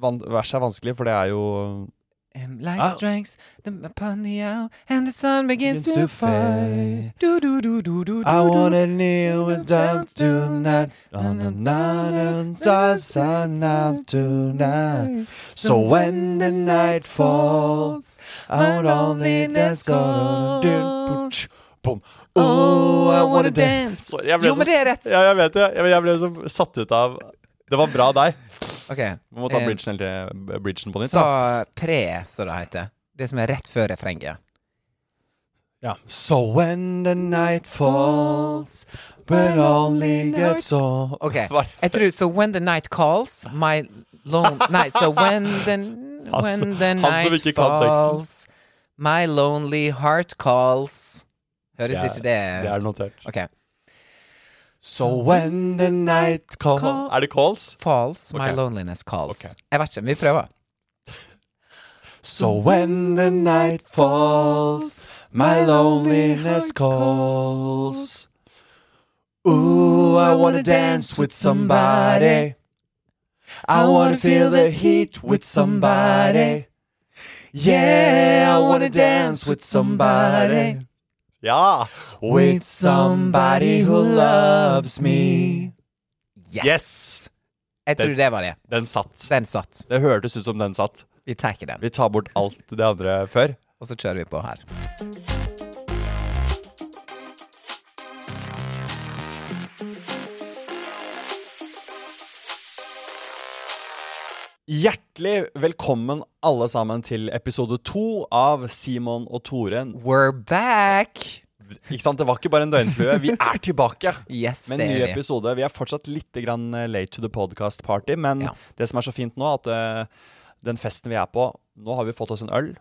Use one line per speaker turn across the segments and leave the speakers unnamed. Van vers er vanskelig, for det er jo
Um, light
Ah.
strikes them upon the hour, and the sun begins,
Begins
to,
to
fade.
fade.
Do do do do do
I
do,
wanna
do.
kneel without tonight On a night and does a night tonight So when the night falls Our loneliness gonna do Boom.
Oh, I wanna dance.
Sorry, jeg ble
Jo,
så-
men det er rett.
sånn- Ja, jeg vet det. Jeg, jeg ble så satt ut av Det var bra deg.
Ok,
Vi må ta
eh,
bridgen, hele, bridgen på nytt.
Så
da.
pre, som det heter. Det som er rett før refrenget.
Ja. So when the night falls, but only gets on
Ok,
Hva er det?
jeg tror So when the night calls, my lone Nei, so when the, when the
Altså, han som ikke
night
kan teksten.
falls, my lonely heart calls Høres
Det er-
ikke det
Det er notert.
Ok.
So when the night calls
Call-
Er det calls?
Falls, my
Ok.
loneliness calls.
Ok.
Jeg vet ikke, vi prøver.
So when the night falls, my loneliness calls. Ooh, I wanna dance with somebody. I wanna feel the heat with somebody. Yeah, I wanna dance with somebody. Yeah. With somebody who loves me.
Yes! Jeg tror
Den-
det var det.
Den satt.
Den satt.
Det hørtes ut som den satt.
Vi tar ikke den,
Vi tar bort alt det andre før.
og så kjører vi på her.
Hjertelig velkommen alle sammen til episode to av Simon og Tore.
We're back!
Ikke sant, Det var ikke bare en døgnflue. Vi er tilbake
Yes,
med
det
en ny
er vi.
episode. Vi er fortsatt litt grann eh, late to the podcast party, men
Ja.
det som er så fint nå, at eh, den festen vi er på Nå har vi fått oss en øl.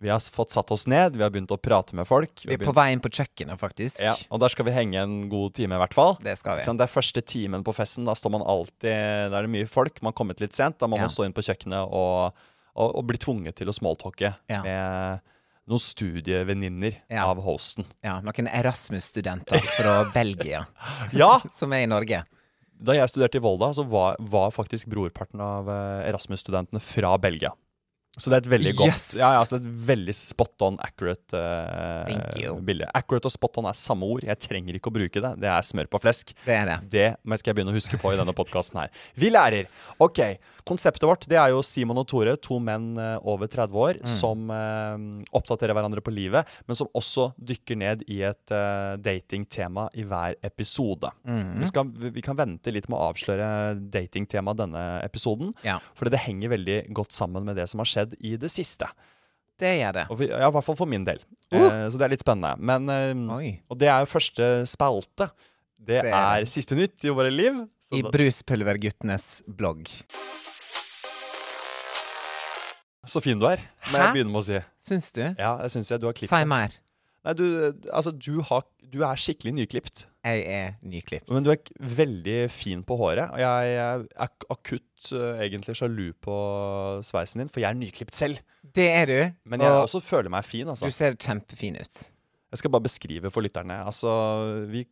Vi har s- fått satt oss ned, vi har begynt å prate med folk.
Vi
har
er på vei inn på kjøkkenet, faktisk.
Ja, og der skal vi henge en god time, i hvert fall.
Det skal
Ikke
vi.
sant? Det er første timen på festen. Da står man alltid Da er det mye folk. Man har kommet litt sent. Da må
Ja.
man stå inn på kjøkkenet og, og, og bli tvunget til å smalltalke
Ja.
med noen studievenninner
Ja.
av hosten.
Ja, Noen Erasmus-studenter fra Belgia
Ja!
som er i Norge.
Da jeg studerte i Volda, så var, var faktisk brorparten av eh, Erasmus-studentene fra Belgia. Så det er et veldig godt
Yes!
Ja, ja, så det er et veldig spot on accurate eh,
Thank you.
bilde. Accurate og spot on er samme ord. Jeg trenger ikke å bruke det. Det er smør på flesk.
Det er det.
Det må- skal jeg begynne å huske på i denne podkasten her. Vi lærer. Ok, Konseptet vårt det er jo Simon og Tore, to menn eh, over 30 år,
Mm.
som eh, oppdaterer hverandre på livet, men som også dykker ned i et eh, datingtema i hver episode.
Mm.
vi, skal, vi- vi kan vente litt med å avsløre datingtemaet denne episoden,
Ja,
for det henger veldig godt sammen med det som har skjedd i det siste.
det gjør det.
Og vi, ja, I hvert fall for min del.
Uh.
Eh, så det er litt spennende. Men eh,
Oi.
og det er jo første spalte. Det,
Det er
er siste nytt i våre liv. Så
I
da-
Bruspulverguttenes blogg.
så fin du er, må
Hæ?
jeg begynne med å si.
Syns du?
Ja, jeg synes jeg, Du har klippet.
Si mer.
Nei, du, altså, du, har, du er skikkelig nyklipt.
Jeg er nyklipt.
Men du er k- veldig fin på håret. Og jeg er ak- akutt eh, egentlig sjalu på sveisen din, for jeg er nyklipt selv.
Det er du.
Men jeg
og
også føler meg fin, altså.
du ser kjempefin ut.
Jeg skal bare beskrive for lytterne. Altså, vi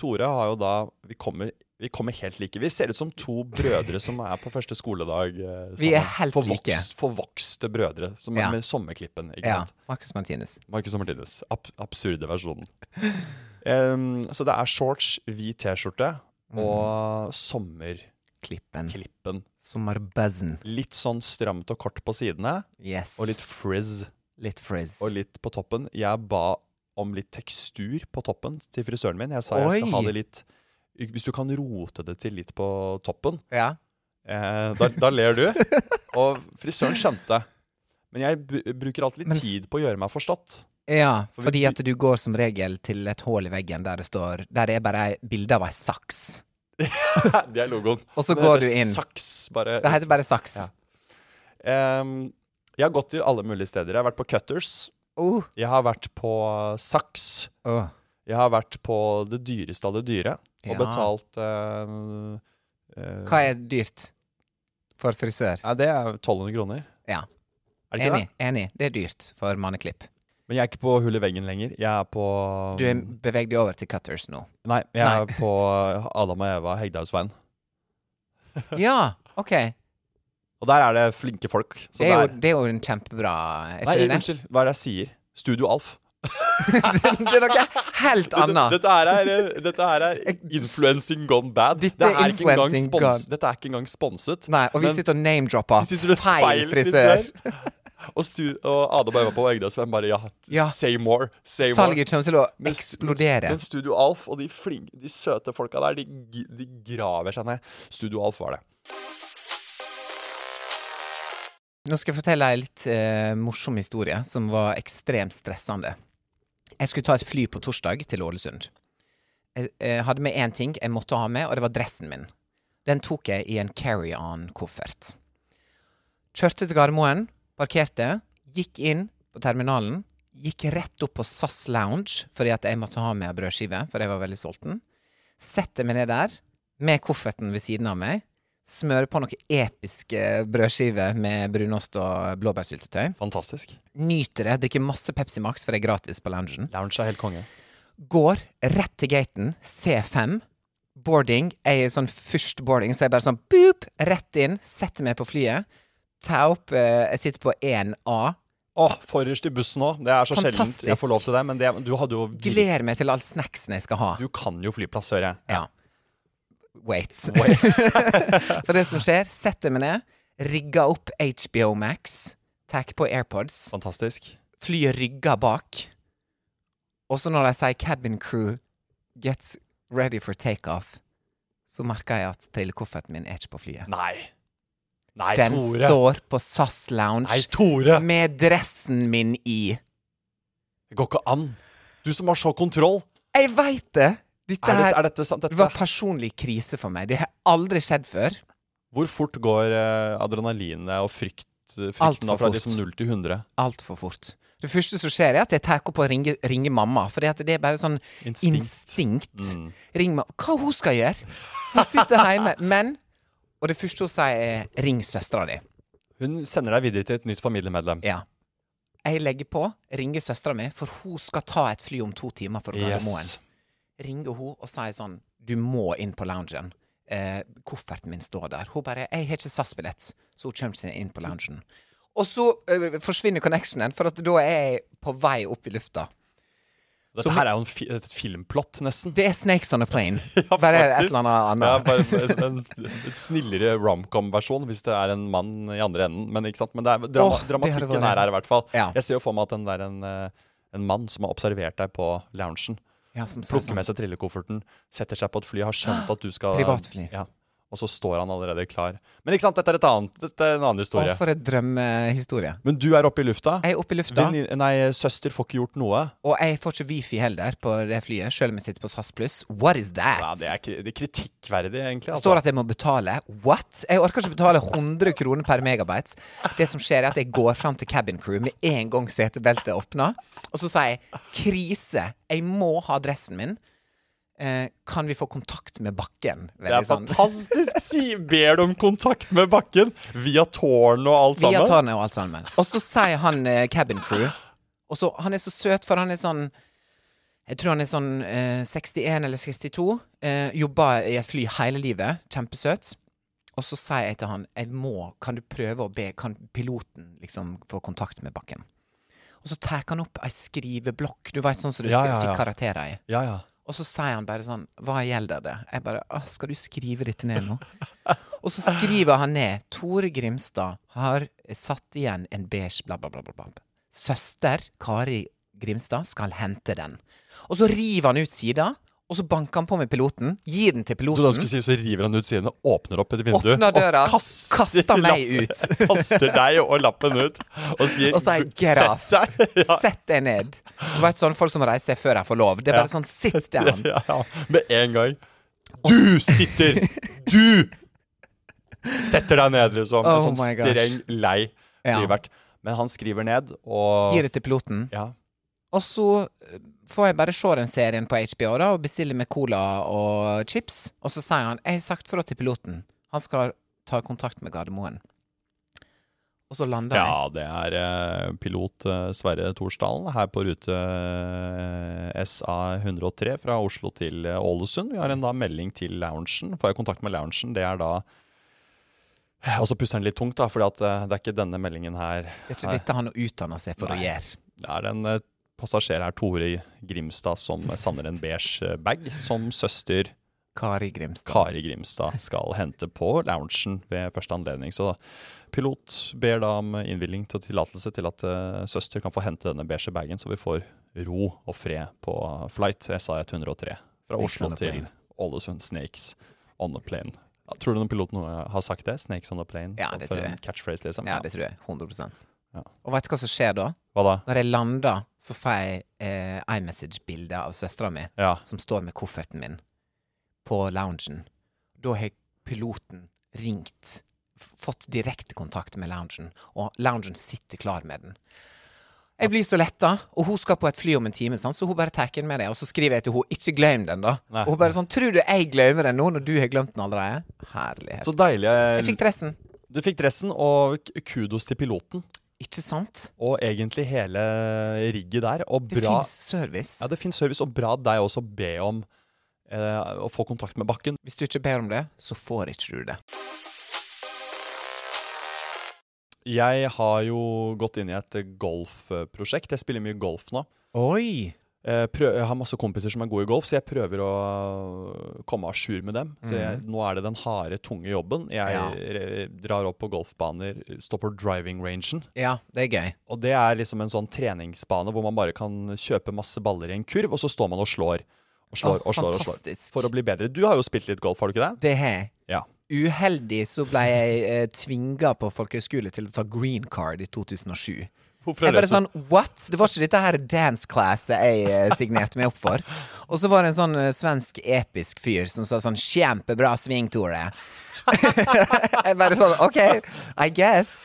Tore har jo da Vi kommer, vi kommer helt like. Vi ser ut som to brødre som er på første skoledag eh, sammen.
Vi er helt
Forvokst-
like.
Forvokste brødre, som er
Ja.
med sommerklippen. ikke
Ja.
sant?
Marcus Martinus.
Marcus og Martinus. Ab absurde versjonen. Em, så det er shorts, hvit T-skjorte
Mhm.
og sommerklippen.
Klippen. Sommerbuzzen.
Litt sånn stramt og kort på sidene,
Yes.
og litt frizz.
Litt frizz.
og litt på toppen. Jeg ba om litt tekstur på toppen til frisøren min. Jeg sa jeg skal
Oi.
ha det litt Hvis du kan rote det til litt på toppen,
ja.
eh, da, da ler du. Og frisøren skjønte. Men jeg b bruker alltid litt
Men s-
tid på å gjøre meg forstått.
ja,
For vi-
fordi at du går som regel til et hull i veggen der det står Der det er bare ei bilde av ei saks.
Det er logoen.
Og så
Det
går
heter
du inn.
Saks, bare.
Det heter bare saks.
Ja. Ehm, jeg har gått til alle mulige steder. Jeg har vært på Cutters.
Oh.
Jeg har vært på Saks.
Oh.
Jeg har vært på det dyreste av det dyre og
Ja.
betalt eh, eh,
Hva er dyrt for frisør?
Nei, det er 1200 kroner.
Ja.
Er det ikke
Enig. enig. Det er dyrt for manneklipp.
det? Men jeg er ikke på hull i veggen lenger. Jeg er på
Du er beveg deg over til cutters nå.
Nei, jeg
Nei.
er på Adam og Eva Hegdehaugsveien.
Ja, OK.
Og der er det flinke folk. Så
Det er jo,
der-
det er jo en kjempebra
Nei,
Er ikke det det?
unnskyld. Hva er det jeg sier? Studio Alf.
Det er noe helt
Dette,
annet.
dette, her er, eh, dette her er influencing gone bad.
Dette
det
er
er ikke engang
influencing
spons,
gone.
dette er ikke engang sponset.
Nei, og vi
Men-
sitter og name-dropper
Vi sitter og
feil frisør.
Og, stu, og Adam og Eva på Egdalsveien bare ja,
Ja.
say more. Say more.
Salget kommer til å
Men-
eksplodere.
Men Studio Alf og de, flin- de søte folka der, de, gi- de graver seg ned. Studio Alf var det.
Nå skal jeg fortelle ei litt eh, morsom historie som var ekstremt stressende. Jeg skulle ta et fly på torsdag til Ålesund. Jeg eh, hadde med én ting jeg måtte ha med, og det var dressen min. Den tok jeg i en carry-on-koffert. Kjørte til Gardermoen, parkerte, gikk inn på terminalen. Gikk rett opp på SAS Lounge fordi at jeg måtte ha med brødskive, for jeg var veldig sulten. Setter meg ned der, med kofferten ved siden av meg. Smører på noen episke brødskiver med brunost og blåbærsyltetøy.
Fantastisk.
Nyter det. Drikker masse Pepsi Max, for det er gratis på loungen.
Lounge er helt konge.
Går rett til gaten, C5. Boarding. Jeg er sånn først boarding, så jeg bare sånn boop, rett inn. Setter meg på flyet. Ta opp eh, Jeg sitter på 1A.
Å, forrest i bussen òg. Det er så sjeldent jeg
Fantastisk.
får lov til det. Men det, du hadde jo
Gleder meg til all snacksen jeg skal ha.
Du kan jo flyplass, hører jeg.
Ja. Wait. For det som skjer, setter meg ned, rigger opp HBO Max, tar på AirPods.
Fantastisk.
flyet rygger bak. Og så når de sier 'cabin crew gets ready for takeoff', så merker jeg at trillekofferten min er ikke på flyet.
Nei. Nei,
Den
Tore.
står på SAS Lounge
Nei, Tore.
med dressen min i.
Det går ikke an. Du som har så kontroll.
Jeg veit det! Dette
Er, det,
her
er dette sant?
det
Dette?
var personlig krise for meg. Det har aldri skjedd før.
Hvor fort går eh, adrenalinet og frykt,
Alt
frykten da
for
fra
fort.
liksom 0 til 100?
Altfor fort. Det første som skjer, er at jeg tar opp og ringer, ringer mamma. For det er bare sånn
Instinkt. Mm.
instinkt. Ring meg. Hva hun skal gjøre? Hun sitter hjemme. Men Og det første hun sier, er 'ring søstera di'.
Hun sender deg videre til et nytt familiemedlem.
Ja. Jeg legger på, ringer søstera mi, for hun skal ta et fly om to timer for Gardermoen.
Yes.
Ringer hun og sier sånn 'Du må inn på loungen'. Eh, kofferten min står der. Hun bare 'Jeg har ikke SAS-billett', så hun kommer seg inn på loungen. Og så eh, forsvinner connectionen, for at da er jeg på vei opp i lufta.
Dette her er jo en fi et filmplott, nesten.
Det er Snakes on a Plane. Bare et eller annet
Ja,
annet.
bare en, en, en snillere romcom-versjon, hvis det er en mann i andre enden. Men, ikke sant? Men det er drama
Åh, det hadde
dramatikken
vært-
her er i hvert fall.
Ja.
Jeg ser jo for meg at den der en, eh, en mann som har observert deg på loungen,
Ja, som sier
plukker
sånn.
med seg trillekofferten, setter seg på et fly, har skjønt at du skal
Privatfly.
Ja. Og så står han allerede klar. Men ikke sant, dette er, et annet, dette er en annen
Å,
historie.
for en drømmehistorie.
Men du er oppe i lufta.
Jeg er oppe i lufta,
Vennin- nei, søster får ikke gjort noe.
og jeg får ikke wifi heller på det flyet, selv om jeg sitter på SAS pluss. What is that?
Ja, det, er, kri- det er kritikkverdig, egentlig.
Det står
Altså.
at jeg må betale. What? Jeg orker ikke betale 100 kroner per megabyte. Det som skjer, er at jeg går fram til cabin crew med en gang setebeltet åpner, og så sier jeg 'krise, jeg må ha dressen min'. Eh, kan vi få kontakt med bakken? sånn.
Det er fantastisk! Si, ber du om kontakt med bakken via tårn og alt
Via
sammen?
tårnet og alt sammen. Og så sier han eh, cabin crew Og så, Han er så søt, for han er sånn Jeg tror han er sånn eh, 61 eller 62. Eh, Jobba i et fly hele livet. Kjempesøt. Og så sier jeg til han Jeg må, Kan du prøve å be Kan piloten liksom få kontakt med bakken? Og så tar han opp ei skriveblokk, du veit sånn som du
Ja,
skri-
ja, ja.
fikk karakterer i.
Ja, ja.
Og så sier han bare sånn Hva gjelder det? Jeg bare «Åh, Skal du skrive dette ned nå? og så skriver han ned Tore Grimstad har satt igjen en beige bla, bla, bla, bla, bla. Søster Kari Grimstad skal hente den. Og så river han ut sida, og så banker han på med piloten. Gir den til
Du, da skulle
piloten.
si, så river han ut sidene, åpner opp et vindu
Åpner døra,
og kaster,
kaster meg
lappen-
ut.
kaster deg og lappen ut og sier
Og sier, «Get
«Sett
off».
deg». Ja,
Sett deg ned. Du vet sånn folk som reiser før de får lov. Det er bare sånn Sit down.
ja, ja. Med en gang. Du sitter! Du setter deg ned, liksom.
Oh
En sånn
my gosh.
streng, lei
Ja.
flyvert. Men han skriver ned, og
Gir det til piloten.
ja.
Og så eh, får jeg bare se den serien på HBO da, og bestille med cola og chips. Og så sier han 'Jeg har sagt fra til piloten. Han skal ta kontakt med Gardermoen'. Og så lander
ja,
jeg.
det er eh, pilot eh, Sverre Thorsdalen her på rute eh, SA103 fra Oslo til eh, Ålesund. Vi har en da melding til loungen. Får jeg kontakt med loungen, det er da Og så puster han litt tungt, da, for det er ikke denne meldingen her.
Det er ikke dette han utdanner seg for
Nei.
å gjøre.
Det er en eh, passasjer her, Tore Grimstad, som savner en beige eh, bag, som søster
Kari Grimstad.
Kari Grimstad skal hente på loungen ved første anledning. Så pilot ber da om innvilgning til tillatelse til at eh, søster kan få hente denne beige bagen, så vi får ro og fred på flight SA 103 fra
Snakes on
Oslo
a
til
plane.
Ålesund. Snakes on a plane. Ja, Tror du noen pilot noe har sagt det? Snakes on a plane?
Ja,
Så
det
for
tror
en
jeg.
Catchphrase, liksom.
Ja, det tror jeg. 100
Ja.
Og veit du hva som skjer da?
Hva da?
Når jeg lander, så får jeg eh, iMessage-bilde av søstera mi,
Ja.
som står med kofferten min på loungen. Da har piloten ringt, f- fått direkte kontakt med loungen, og loungen sitter klar med den. Jeg blir så letta, og hun skal på et fly om en time, sant? så hun bare tar den med deg. Og så skriver jeg til hun, 'ikke glem den', da.
Nei.
Og hun bare sånn 'Tror du jeg glemmer den nå, når du har glemt den allerede?' Herlighet.
Så deilig. eh,
Jeg fikk dressen.
Du fikk dressen, og k- kudos til piloten.
Ikke sant?
Og egentlig hele rigget der. Og
Det
bra
finnes service.
Ja, det finnes service, og bra deg også å be om eh, å få kontakt med bakken.
Hvis du ikke ber om det, så får ikke du det.
Jeg har jo gått inn i et golfprosjekt. Jeg spiller mye golf nå.
Oi!
Eh, prø- jeg har masse kompiser som er gode i golf, så jeg prøver å komme à jour med dem. Så jeg, Nå er det den harde, tunge jobben. Jeg
Mhm. Ja.
re- drar opp på golfbaner, står på driving-rangen.
Ja, det er gøy.
Og det er liksom en sånn treningsbane hvor man bare kan kjøpe masse baller i en kurv, og så står man og slår. Og slår,
Å,
og slår, og slår.
fantastisk.
For å bli bedre. Du har jo spilt litt golf, har du ikke det?
Det har jeg.
Ja.
Uheldig så ble jeg eh, tvinga på folkehøyskole til å ta green card i 2007.
Hvorfor
Jeg
er det
bare
så
sånn, what? Det var ikke dette her dance-classet jeg eh, signerte meg opp for. Og så var det en sånn eh, svensk episk fyr som sa sånn, kjempebra sving, Tore. jeg bare sånn, ok, I guess.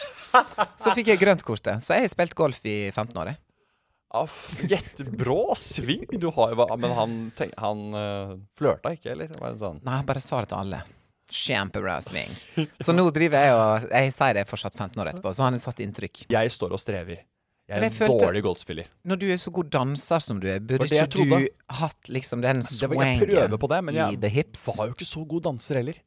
Så fikk jeg grønt kortet, så jeg har spilt golf i 15 år, jeg.
Ja, f- Jettebra sving du har. jo, hva- Men han, tenk, han eh, flørta ikke, eller? Var det sånn?
Nei, jeg bare sa det til alle. Kjempebra sving. Så nå driver jeg og Jeg sier det fortsatt 15 år etterpå, så han har satt inntrykk.
Jeg står og strever. Jeg er
Men jeg
en
følte-
dårlig golfspiller.
Når du er så god danser som du er, burde
Var det
ikke
jeg trodde.
du hatt liksom den
Det var, jeg
swangen
prøver på det, men
i the
jeg
hips?
var jo ikke så god danser heller.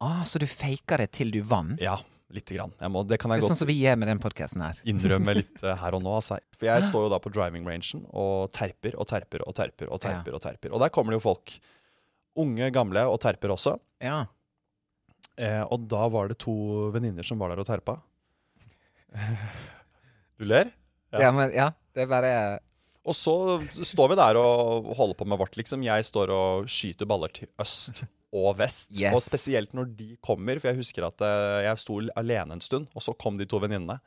Ah, så du faka det til du vant?
Ja, lite grann. Jeg må, det kan
Det
jeg
er sånn
godt
som vi gjør med den podkasten her.
innrømme litt eh, her og nå. Altså. For jeg står jo da på driving-rangen og terper og terper og terper og terper. Og terper. Og der kommer det jo folk. Unge, gamle og terper også.
Ja.
Eh, og da var det to venninner som var der og terpa. Du ler? Ja.
ja, men ja. Det er bare
Og så står vi der og holder på med vårt, liksom. Jeg står og skyter baller til øst og vest.
Yes.
Og spesielt når de kommer, for jeg husker at eh, jeg sto alene en stund, og så kom de to venninnene.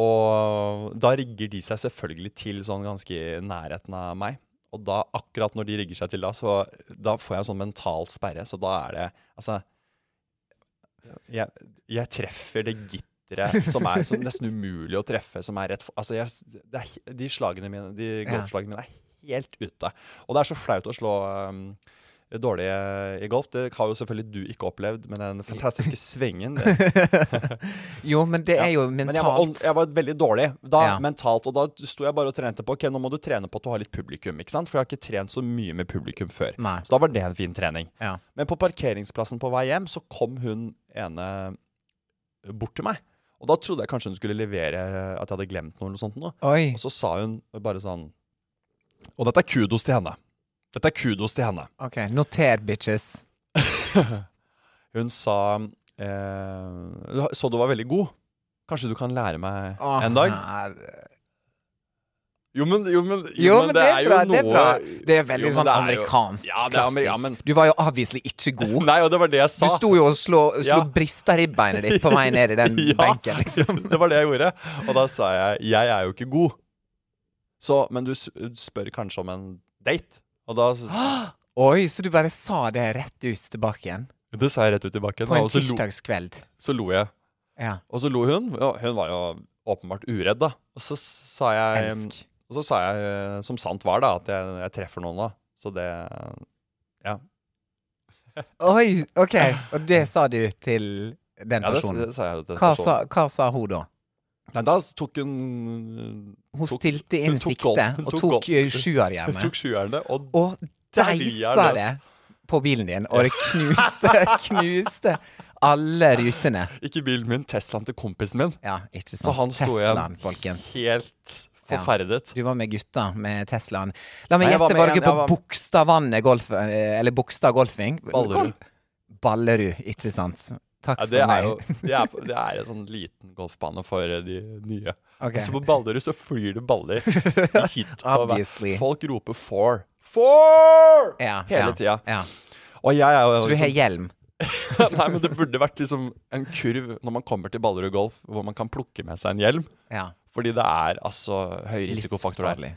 Og da rigger de seg selvfølgelig til sånn ganske i nærheten av meg. Og da, akkurat når de rigger seg til da, så da får jeg en sånn mental sperre. Så da er det Altså Jeg, jeg treffer det gitteret som er som nesten umulig å treffe, som er rett for Altså, jeg, det er, he- de slagene mine, de golfslagene mine, er helt ute. Og det er så flaut å slå um, dårlig eh, i golf. Det har jo selvfølgelig du ikke opplevd, men den fantastiske svingen det
Jo, men det er jo
men jeg var,
mentalt.
jeg var veldig dårlig da,
Ja.
mentalt, og da sto jeg bare og trente på Ok, nå må du trene på at du har litt publikum, ikke sant? For jeg har ikke trent så mye med publikum før.
Nei.
Så da var det en fin trening.
Ja.
Men på parkeringsplassen på vei hjem så kom hun ene bort til meg. Og da trodde jeg kanskje hun skulle levere eh, at jeg hadde glemt noe eller noe sånt. Noe.
Oi.
Og så sa hun bare sånn Og dette er kudos til henne. Dette er kudos til henne.
OK. Noter, bitches.
Hun sa eh, Så du var veldig god. Kanskje du kan lære meg
Å,
en dag?
her-
Jo, men, jo, men,
Jo, men det er
jo
bra. Det er,
noe
bra. Det er veldig
Jo, men
sånn
det er jo-
amerikansk,
Ja, det er amer-
klassisk.
ja, men-
Du var jo avviselig ikke god.
Nei, og det var det jeg sa.
Du sto jo og slo, slo
Ja.
brister i beinet ditt på vei ned i den
Ja.
benken, liksom.
det var det jeg gjorde. Og da sa jeg 'jeg er jo ikke god'. Så, men du s- spør kanskje om en date. Og da s-
Oi, så du bare sa det rett ut tilbake igjen?
Det sa jeg rett ut i bakken.
På en
Og så lo,
tirsdagskveld?
så lo jeg.
Ja.
Og så lo hun. Ja, hun var jo åpenbart uredd, da. Og så sa jeg
Elsk.
Og så sa jeg, eh, som sant var, da, at jeg, jeg treffer noen da. Så det
Oi, OK. Og det sa du til den
Ja, det,
personen?
det sa jeg. til
Hva
personen.
sa, hva sa hun da?
Nei, da tok hun
Hun
Tok-
stilte inn
hun tok
sikte
gold. Hun
og
tok
tok
gold.
eh,
Hun
sjuerhjemmet.
tok sjuerne, og
Og
Der vil jeg
deisa
løs.
det på bilen din, og det knuste, knuste alle rutene.
ikke bilen min, Teslaen til kompisen min.
Ja, ikke sant.
Så han sto igjen
Teslaen, folkens.
Helt
Ja.
forferdet.
Du var med gutta med Teslaen. La meg
Nei, jeg var
gjette,
med
var
en-
dere på
jeg var-
Bogstadvannet golf... eh, Eller Bogstad golfing?
Ballerud.
Ballerud, ikke sant. Takk
Ja, det
for
er
meg.
jo det er, på- det er en sånn liten golfbane for eh, de nye.
Ok.
Så altså, på Ballerud så flyr det baller i hytt og
Obviously.
vær. Folk roper 'four'. Four!
Ja,
Hele
ja,
tida.
ja.
Og jeg er jo
Så du har
liksom,
hjelm?
Nei, men det burde vært liksom en kurv når man kommer til Ballerud golf, hvor man kan plukke med seg en hjelm.
Ja.
Fordi det er altså høy risikofaktor der.
Livsfarlig.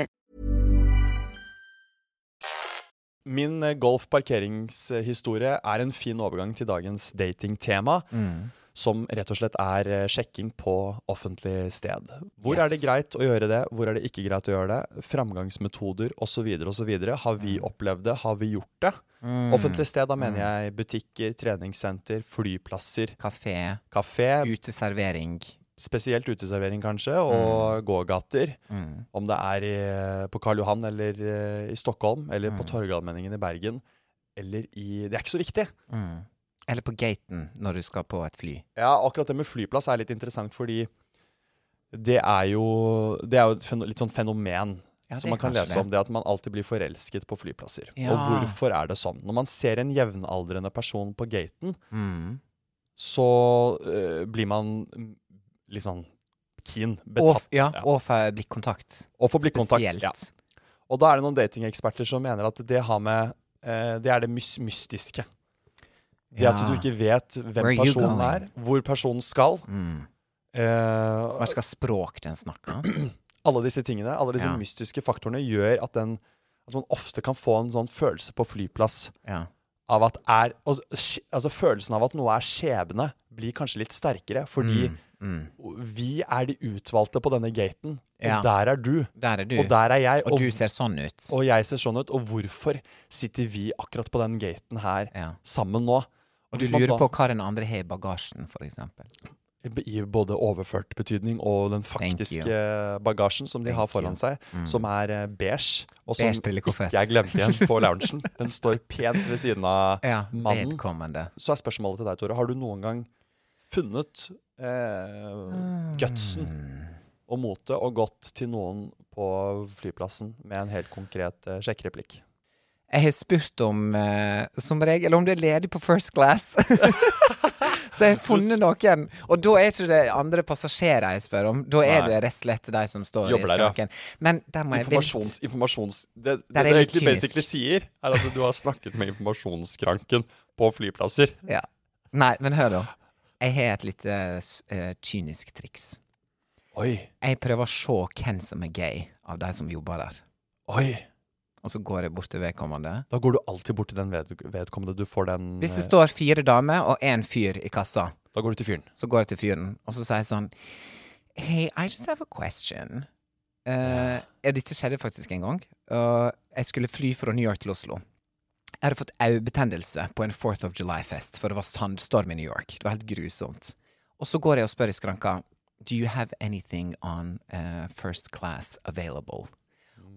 Min eh, golfparkeringshistorie er en fin overgang til dagens datingtema, som rett og slett er eh, sjekking på offentlig sted. Hvor er det
Yes.
greit å gjøre det, hvor er det ikke greit å gjøre det? Framgangsmetoder osv. osv. Har vi opplevd det, har vi gjort det? Offentlig sted, da mener jeg butikker, treningssenter, flyplasser,
Kafé,
kafé,
uteservering.
spesielt uteservering kanskje, og gågater.
Mm.
Om det er i, på Karl Johan eller eh, i Stockholm, eller på Torgallmenningen i Bergen, eller i Det er ikke så viktig.
Mm. Eller på gaten når du skal på et fly.
Ja, akkurat det med flyplass er litt interessant, fordi det er jo, det er jo et fen- litt sånn fenomen.
Ja, det
som man
er
kan
kanskje
lese om det at man alltid blir forelsket på flyplasser.
Ja.
Og hvorfor er det sånn? Når man ser en jevnaldrende person på gaten,
Mm.
så eh, blir man mm, litt sånn keen,
Og,
betatt.
ja,
Ja.
og for blikkontakt.
Og for blikkontakt.
Spesielt.
Ja. Og da er det noen datingeksperter som mener at det har med eh, Det er det mys mystiske. Det at
Ja.
du ikke vet hvem
Where you
personen
going?
er, hvor personen skal.
Mm.
Eh,
Hva skal språk den snakker?
alle disse tingene, alle disse
Ja.
mystiske faktorene, gjør at, den, at man ofte kan få en sånn følelse på flyplass
Ja.
av at er og, sk- Altså følelsen av at noe er skjebne, blir kanskje litt sterkere, fordi
Mm.
vi er de utvalgte på denne gaten, og
Ja.
der er du,
Der er du.
og der er jeg,
Og du ser sånn ut.
Og jeg ser sånn ut, og hvorfor sitter vi akkurat på den gaten her
Ja.
sammen nå?
Og du
Hvis man
lurer
da-
på hva den andre har i bagasjen, for eksempel.
I både overført betydning og den
Thank you. Mm.
faktiske bagasjen som de har foran seg, som er eh, beige, og som
Beige
ikke
trillekoffer.
er glemt igjen på loungen. Den står pent ved siden av
Ja,
mannen.
vedkommende.
Så er spørsmålet til deg, Tore, har du noen gang funnet eh, gutsen
Mm.
og motet og gått til noen på flyplassen med en helt konkret eh, sjekkereplikk?
Jeg har spurt om, eh, som regel, om det er ledig på first class. Så jeg har funnet noen. Og da er ikke det andre passasjerer jeg spør om. Da er
Nei.
det rett og slett de som står
Jobber der,
i
ja.
skranken. Men der må jeg være
Informasjons...
litt-
informasjons det det,
er
det
litt
egentlig
kynisk.
basically sier, er at du har snakket med informasjonsskranken på flyplasser.
Ja. Nei, men hør da. Jeg har et lite s- eh, kynisk triks.
Oi,
Jeg prøver å se hvem som er gay av de som jobber der.
oi.
Og så går jeg bort til vedkommende.
Da går du alltid bort til den ved vedkommende. Du får den
Hvis det
eh,
står fire damer og én fyr i kassa,
Da går du til fyren.
så går jeg til fyren, og så sier jeg sånn Hey, I just have a question. Eh, ja, dette skjedde faktisk en gang. Og jeg skulle fly fra New York til Oslo. Jeg hadde fått øyebetennelse på en 4th of July-fest, for det var sandstorm i New York. Det var helt grusomt. Og så går jeg og spør i skranka Do you have anything on eh, first class available?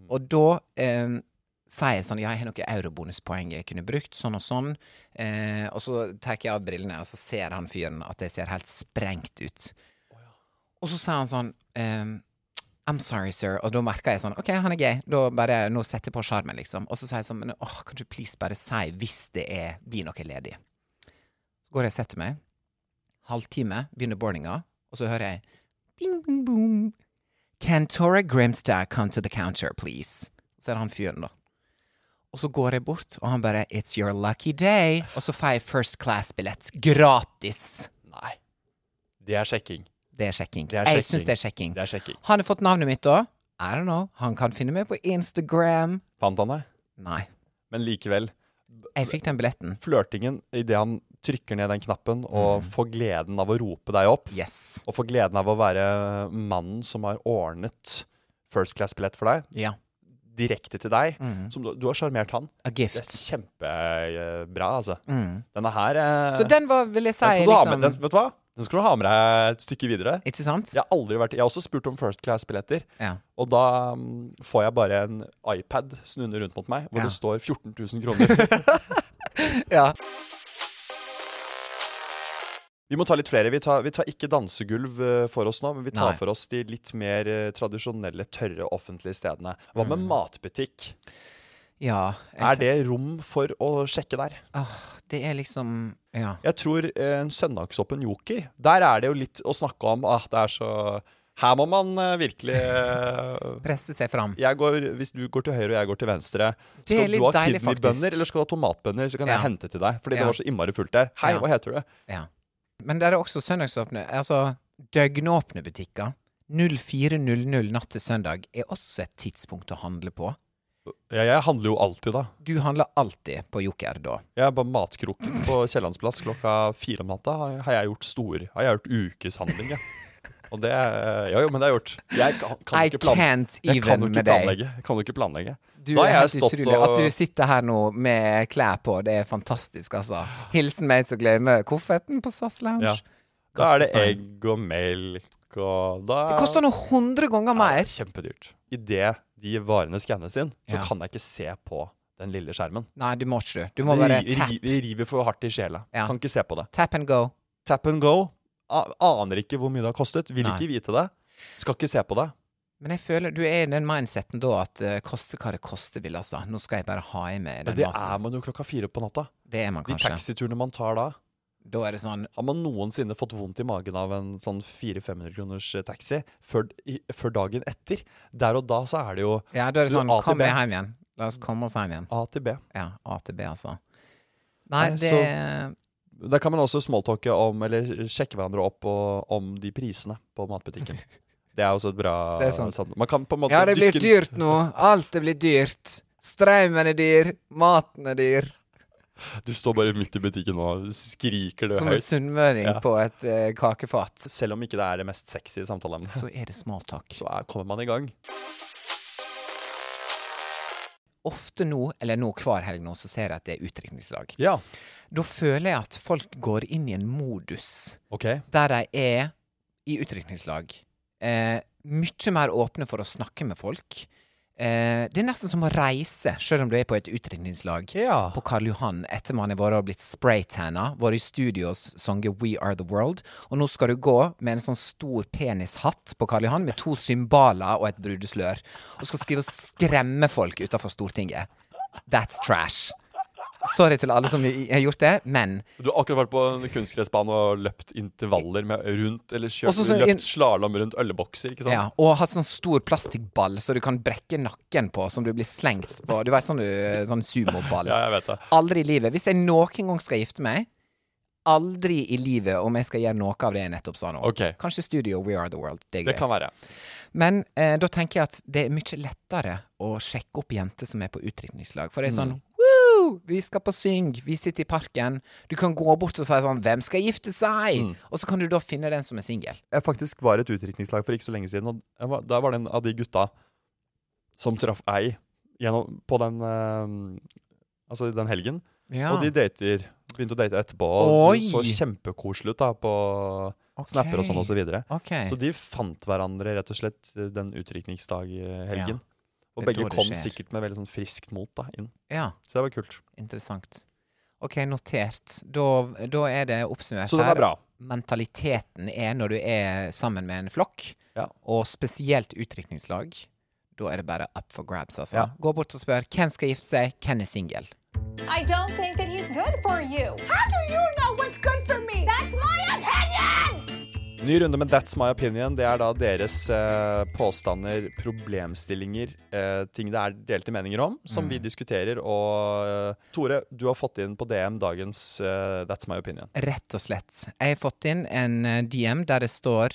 Og da eh, sier jeg sånn Ja, jeg har noen eurobonuspoeng jeg kunne brukt, sånn og sånn. Eh, og så tar jeg av brillene, og så ser han fyren at jeg ser helt sprengt ut. Og så sier han sånn ehm, I'm sorry, sir. Og da merker jeg sånn OK, han er gay. Da bare, nå setter jeg på sjarmen, liksom. Og så sier jeg sånn Men åh, kan du please bare si hvis det er, blir noe ledig? Så går jeg og setter meg. Halvtime, begynner boardinga, og så hører jeg bing, bing, boom. Can Tora Grimstad come to the counter, please? Så er det han fyren, da. Og så går jeg bort, og han bare It's your lucky day. Og så får jeg first class-billett gratis.
Nei. Det er sjekking.
Det er sjekking.
Det er
Jeg syns
sjekking.
det er sjekking.
Det er sjekking.
Han har fått navnet mitt òg. I don't know. Han kan finne meg på Instagram.
Fant han deg?
Nei.
Men likevel.
Jeg fikk den billetten.
Flørtingen idet han trykker ned den knappen og får gleden av å rope deg opp,
Yes.
og får gleden av å være mannen som har ordnet first class-billett for deg,
Ja.
direkte til deg.
Mhm.
Som du, du har sjarmert han.
A
Det er
gift.
kjempebra, altså.
Mm.
Denne her eh,
Så den var, vil jeg si,
den skal du ha med,
liksom
den, Vet du hva? Den skal du ha med deg et stykke videre.
Ikke sant?
Jeg har aldri vært Jeg har også spurt om first class-billetter.
Ja.
Og da mm, får jeg bare en iPad snunne rundt mot meg, hvor
Ja.
det står 14 000 kroner.
Ja.
Vi må ta litt flere. Vi tar, vi tar ikke dansegulv eh, for oss nå, men vi tar
Nei.
for oss de litt mer eh, tradisjonelle, tørre offentlige stedene. Hva
Mm.
med matbutikk?
ja.
Er det rom for å sjekke der?
Åh, det er liksom Ja.
Jeg tror eh, en søndagsåpen joker Der er det jo litt å snakke om at det er så Her må man eh, virkelig eh,
Presse seg fram.
jeg går, Hvis du går til høyre og jeg går til venstre
Det er
Skal du
litt
ha
deilig, faktisk.
kidneybønner eller skal du ha tomatbønner? Så kan
Ja.
jeg hente til deg, fordi
Ja.
det var så innmari fullt der. Hei,
Ja.
hva heter du?
Ja. Men det er også søndagsåpne Altså, døgnåpne butikker. 04.00 natt til søndag er også et tidspunkt å handle på.
Ja, jeg handler jo alltid, da.
Du handler alltid på Joker da.
Jeg er bare matkroken på Kiellandsplass klokka fire om natta. har- Har jeg gjort stor Har jeg gjort ukeshandling, jeg. Og det er- eh, Ja jo, men det er gjort. Jeg kan, kan
I
ikke plan-
can't
Jeg kan jo
even
ikke
med deg.
planlegge. Jeg kan jo ikke planlegge.
Du
Da har
er
jeg
helt
stått
utrolig.
og-
At du sitter her nå med klær på, det er fantastisk, altså. Hilsen meg som glemmer kofferten på SAS Lounge.
Ja. Da er det
Kastestein.
egg og melk og da
Det koster nå 100
Ja,
ganger
det
mer.
er Kjempedyrt. Idet de varene skannes inn, så
Ja.
kan jeg ikke se på den lille skjermen.
Nei, du må ikke, du. Du må
Det
bare
ri-
tap,
ri- det river for hardt i sjela.
Ja.
Kan ikke se på det.
tap and go.
Tap and go. A aner ikke hvor mye det har kostet. Vil
Nei.
ikke vite det. Skal ikke se på det.
Men jeg føler du er i den mindseten da at uh, koste hva det koste vil, altså. Nå skal jeg bare ha i meg
Men
den
det er
maten.
man jo klokka fire på natta.
det er man
De
kanskje.
taxiturene man tar da.
Da er det sånn
Har man noensinne fått vondt i magen av en sånn 400-500 kroners eh, taxi før, i, før dagen etter? Der og da så er det jo
Ja, da er det
Du,
sånn
A til
Kom
B.
med hjem igjen. La oss komme oss hjem igjen.
A til B.
Ja. A til B, altså. Nei,
Nei,
det
Der kan man også smalltalke om, eller sjekke hverandre opp og, om de prisene på matbutikken. Det er også et bra
Det er sant.
sånn- Man kan på en måte
Ja, det blir
dykke-
dyrt nå. Alt det blir dyrt. Strømmen er dyr. Maten er dyr.
Du står bare midt i butikken og skriker det
Som en
høyt.
sunnmøring
Ja.
på et eh, kakefat.
Selv om ikke det er det mest sexy samtaleemnet,
Så er det småtak.
så er, kommer man i gang.
Ofte nå, eller nå hver helg nå, så ser jeg at det er utdrikningslag.
Ja,
Da føler jeg at folk går inn i en modus
OK.
der de er i utdrikningslag. Eh, mye mer åpne for å snakke med folk. Eh, det er nesten som å reise, sjøl om du er på et utdrikningslag.
Ja.
på Karl Johan etter man har vært og blitt spraytanna, vært i studios, sunget We Are The World, og nå skal du gå med en sånn stor penishatt på Karl Johan med to cymbaler og et brudeslør, og skal skrive og skremme folk utenfor Stortinget. That's trash. Sorry til alle som i- har gjort det, men
Du har akkurat vært på en kunstgressbane og løpt intervaller med rundt, eller kjørt,
Også sånn inn-
løpt slalåm rundt ølbokser, ikke sant?
ja, Og hatt sånn stor plastikkball så du kan brekke nakken på, som du blir slengt på. Du vet sånn, du, sånn sumoball.
Ja, jeg vet det.
Aldri i livet. Hvis jeg noen gang skal gifte meg, aldri i livet om jeg skal gjøre noe av det jeg nettopp sa nå.
Ok.
Kanskje studio We Are The World. Det er
Det
gøy.
kan være.
Men eh,
Mm.
da tenker jeg at det er mye lettere å sjekke opp jenter som er på utdrikningslag. For det er sånn Woo! Woo! Vi skal på syng, vi sitter i parken. Du kan gå bort og si sånn 'Hvem skal gifte seg?'
Mm.
Og så kan du da finne den som er singel.
Jeg faktisk var i et utdrikningslag for ikke så lenge siden, og jeg var, der var det en av de gutta som traff ei gjennom, på den, eh, altså den helgen.
Ja.
Og de dater, begynte å date etterpå.
Oi!
Og så, så kjempekoselig ut da på
Ok.
snapper og sånn og Så, videre.
Ok.
så de fant hverandre rett og slett den
Ja.
utdrikningsdag-helgen. Og
Det
begge
er da det
kom
skjer.
sikkert med veldig sånn friskt mot da, inn.
ja,
Så det var kult.
interessant. OK, notert. Da, da er det oppsummert
Så det var bra.
Mentaliteten er når du er sammen med en flokk,
Ja.
og spesielt utdrikningslag, da er det bare up for grabs, altså.
Ja.
Gå bort og spør 'Hvem skal gifte seg? Hvem er singel?'
I don't think that he's good for you. How do you know what's good for me? That's my opinion!
Ny runde med That's My Opinion. Det er da deres eh, påstander, problemstillinger, eh, ting det er delte meninger om, som vi diskuterer. Og eh, Tore, du har fått inn på DM dagens eh, That's My Opinion.
Rett og slett. Jeg har fått inn en eh, DM der det står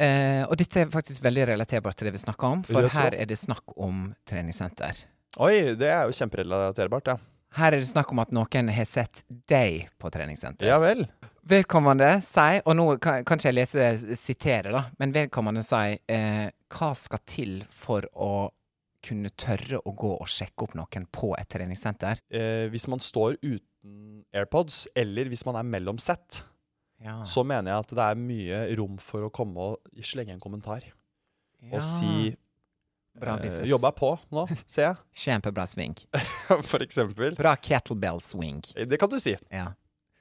eh, Og dette er faktisk veldig relaterbart til det vi snakker om, for
Rød tråd.
her er det snakk om treningssenter.
Oi, det er jo kjemperelaterbart, ja.
Her er det snakk om at noen har sett deg på treningssenter.
Ja vel.
Vedkommende sier, og nå kan, kan ikke jeg lese sitere, da, men vedkommende sier eh, hva skal til for å kunne tørre å gå og sjekke opp noen på et treningssenter?
Eh, hvis man står uten AirPods, eller hvis man er mellom sett,
Ja.
så mener jeg at det er mye rom for å komme og slenge en kommentar. Og si
Bra
eh,
biceps.
Jobba på nå, ser jeg.
Kjempebra swing.
For eksempel.
Bra kettlebell swing.
Det kan du si.
Ja.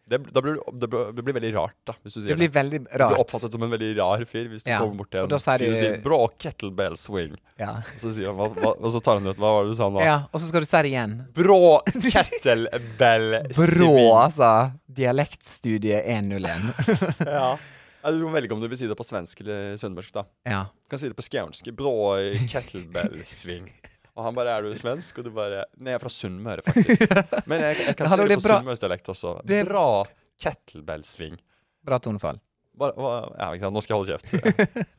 Det, da blir, du- det, blir, det blir veldig rart, da, hvis du sier
Det blir veldig
Du blir
rart.
oppfattet som en veldig rar fyr hvis du
Ja,
kommer bort til
og
en
da sier
fyr og
du-
sier 'brå kettlebell swing'.
Ja.
Og så, sier han, hva, hva, og så tar han ut Hva var det du sa nå?
ja, og så skal du si det igjen.
Brå kettlebell
Brå,
swing.
altså. Dialektstudie 101.
Ja. Ja, Du må velge om du vil si det på svensk eller sunnmørsk. da
ja.
Du kan si det på skånsk. 'Brå kettlebell swing'. Og han bare 'Er du svensk?' Og du bare 'Nei, jeg er fra Sunnmøre, faktisk'. Men jeg, jeg kan
Hallo,
si
det
det
er
på
bra-
sunnmørsdialekt også.
Det er-
Bra kettlebell swing.
Bra tonefall.
Bare, hva- ja, ikke sant? Nå skal jeg holde kjeft.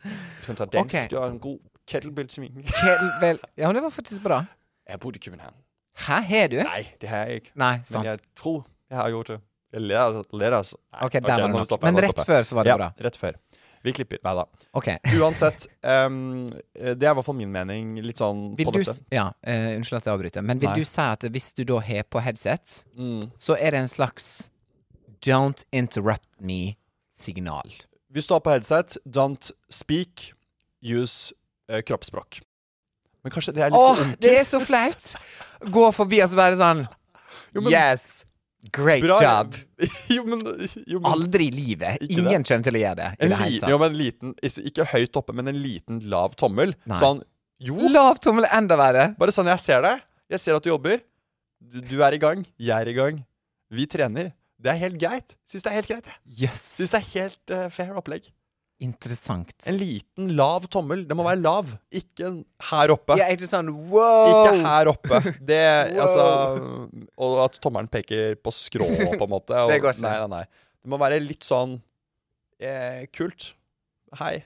Skal vi ta den?
Ok.
Du har en god kettlebell swing.
Kettlebell Ja, men det var faktisk bra.
Jeg bodde i København.
Hæ, har du?
Nei, det har jeg ikke.
Nei,
Men
sant.
jeg tror jeg har gjort det. Jeg ler, ler altså. Nei,
Ok, der var det
nå må
nok.
vi stoppe,
Men
nå må vi
rett
stoppe.
før så var det
ja,
bra.
Rett før. Vi klipper. Nei da.
OK.
Uansett, ehm, det er i hvert fall min mening. Litt sånn
Vil
på
du,
dette.
s- ja, eh, unnskyld at jeg avbryter, men vil
Nei.
du si at hvis du da har på headset,
Mm.
så er det en slags don't interrupt me-signal?
Hvis du har på headset, don't speak, use eh, kroppsspråk. Men kanskje det er litt
Åh,
for enkelt?
det er så flaut! Gå forbi og så bare sånn
Jo, men-
Yes! Great
Bra-
job!
jo, men, jo, men
Aldri i livet.
Ikke det.
Ingen kommer til å gjøre det. I
en
det hele
li-
tatt.
jo, men en liten, ikke høyt oppe, men en liten lav tommel.
Nei.
Sånn Jo,
Lav tommel er enda verre.
Bare sånn, jeg ser deg. Jeg ser at du jobber. Du, du er i gang. Jeg er i gang. Vi trener. Det er helt greit. Syns det er helt greit. jeg.
Jøss.
Syns det er helt eh, fair opplegg.
Interessant.
En liten, lav tommel. Det må være lav. Ikke en her oppe.
Ja, ikke sånn wow!
Ikke her oppe. Det,
Wow.
altså, og at tommelen peker på skrå, på en måte. Og,
Det går ikke.
Nei, nei, nei. Det må være litt sånn eh, kult. Hei,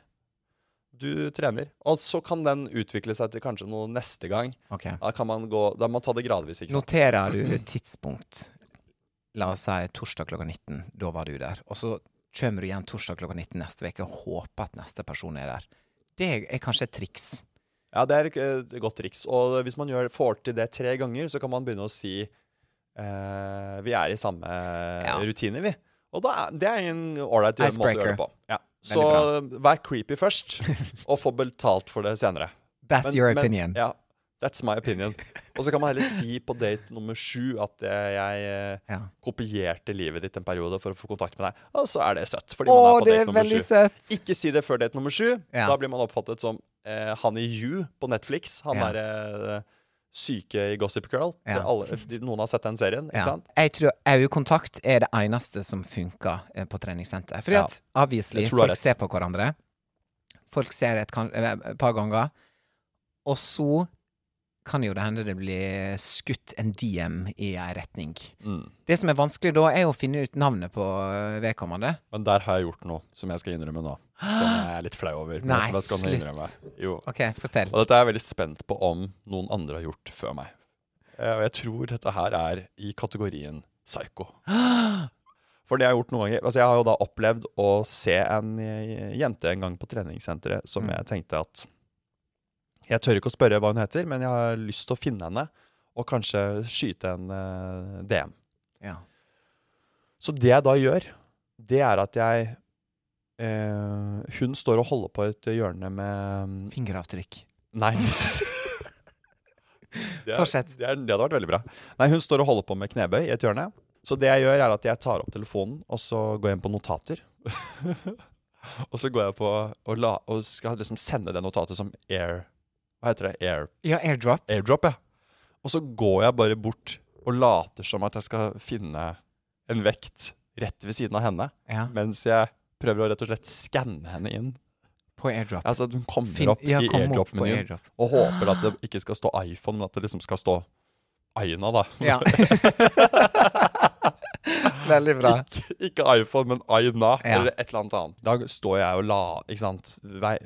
du trener. Og så kan den utvikle seg til kanskje noe neste gang.
Ok.
Da kan man gå Da må man ta det gradvis, ikke sant?
Noterer du tidspunkt? La oss si torsdag klokka 19. Da var du der. Og så kommer du igjen torsdag klokka 19 neste uke og håper at neste person er der. Det er kanskje et triks.
Ja, det er et eh, godt triks. Og hvis man gjør, får til det tre ganger, så kan man begynne å si eh, Vi er i samme rutine, vi. Og da er, det er en ålreit måte å gjøre
Icebreaker.
det på. Ja. Så eh, vær creepy først, og få betalt for det senere.
That's
Men-
your
men-
opinion.
ja, that's my opinion. Og så kan man heller si på date nummer sju at eh, jeg eh,
Ja.
kopierte livet ditt en periode for å få kontakt med deg. Og så er det søtt. fordi
Å,
man er på
det
date
er
nummer
veldig
sju.
søtt!
Ikke si det før date nummer sju.
Ja.
Da blir man oppfattet som eh, han i You på Netflix. Han
Ja.
derre eh, syke i Gossip Girl.
Ja.
Det Alle, de, noen har sett den serien, ikke
Ja.
sant?
Jeg tror øyekontakt er det eneste som funker eh, på treningssenter. Fordi
Ja.
at obviously,
Jeg tror du har
folk
rett.
ser på hverandre. Folk ser et, kan, eh, et par ganger. Og så kan jo det hende det blir skutt en DM i ei retning.
Mm.
Det som er vanskelig da, er å finne ut navnet på eh, vedkommende.
Men der har jeg gjort noe som jeg skal innrømme nå. Som jeg er litt flau over. men
Nei,
som jeg skal
slutt.
innrømme. Jo.
OK, fortell.
Og dette er jeg veldig spent på om noen andre har gjort før meg. Eh, Og jeg tror dette her er i kategorien psycho. For det jeg har gjort noen ganger Altså jeg har jo da opplevd å se en eh, jente en gang på treningssenteret som
Mm.
jeg tenkte at Jeg tør ikke å spørre hva hun heter, men jeg har lyst til å finne henne og kanskje skyte en eh, DM.
Ja.
Så det jeg da gjør, det er at jeg eh, Hun står og holder på et hjørne med mm,
Fingeravtrykk.
Nei. Det er-
Fortsett.
Det, er, det hadde vært veldig bra. Nei, hun står og holder på med knebøy i et hjørne. Så det jeg gjør, er at jeg tar opp telefonen, og så går jeg inn på notater. og så går jeg på og, la, og skal liksom sende det notatet som air Hva heter det? Air,
Ja, airdrop.
airdrop, ja. Og så går jeg bare bort og later som at jeg skal finne en vekt rett ved siden av henne,
Ja,
mens jeg prøver å rett og slett skanne henne inn.
på airdrop.
Altså at hun kommer
Finn-
opp
ja,
i
kom opp på
airdrop-menyen.
airdrop.
Og håper at det ikke skal stå iPhone, men at det liksom skal stå Aina, da.
Ja. Veldig bra.
Ikke, ikke iPhone, men Aina,
Ja.
eller et eller annet annet. Da står jeg og la Ikke sant. Vei,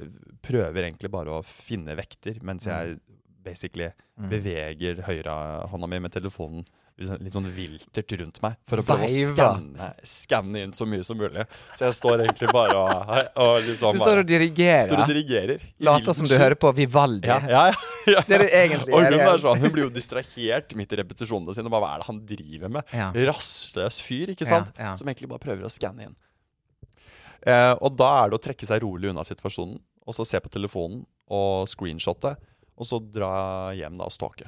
prøver egentlig bare å finne vekter, mens
Mm.
jeg basically beveger høyrehånda mi med telefonen litt sånn- litt sånn viltert rundt meg for å prøve å
Veiva.
skanne, skanne inn så mye som mulig. Så jeg står egentlig bare og, og liksom
Du står og
bare- står og
dirigerer.
dirigerer. i
Later som du
vilten.
hører på Vivaldi.
Ja, ja, ja, ja.
Det er det egentlig
Og
er,
hun,
ja.
er sånn, hun blir jo distrahert midt i repetisjonene sine. Bare, hva er det han driver med?
Ja.
Rastløs fyr, ikke sant?
Ja, ja.
Som egentlig bare prøver å skanne inn. Eh, og da er det å trekke seg rolig unna situasjonen, og så se på telefonen og screenshotte, og så dra hjem da og stalke.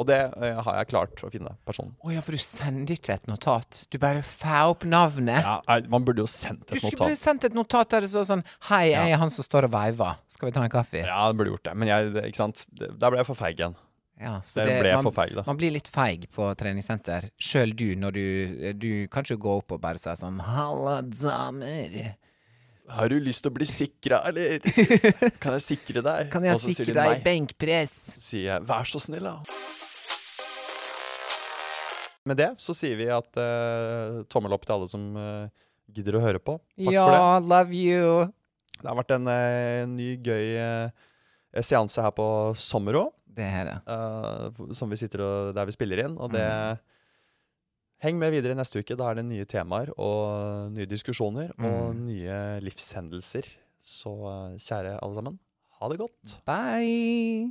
Og det eh, har jeg klart å finne personen.
Å ja, for du sender ikke et notat. Du bare får opp navnet.
Ja, nei, man burde jo sendt
Du
et
skulle bli
notat.
sendt et notat der det står sånn Hei, jeg er han som står og veiver. Skal vi ta en kaffe?
Ja, man burde gjort det. Men jeg, det- ikke sant? Det- der ble jeg for feig igjen.
Ja, så
Det ble for
man,
feig, da.
man blir litt feig på treningssenter. Sjøl du, når du Du kan ikke gå opp og bare si sånn Halla, damer.
Har du lyst til å bli sikra, eller? Kan jeg sikre deg?
Kan jeg
Og så sier de
sikre deg
nei.
benkpress?
sier jeg 'vær så snill', da. Med det så sier vi at eh, tommel opp til alle som eh, gidder å høre på. Takk
ja,
for det.
love you.
Det har vært en eh, ny, gøy eh, seanse her på Sommerå,
Det her, ja.
eh, som vi sitter og, der vi spiller inn. Og det Heng med videre neste uke. Da er det nye temaer og nye diskusjoner og nye livshendelser. Så eh, kjære alle sammen, ha det godt.
Bye.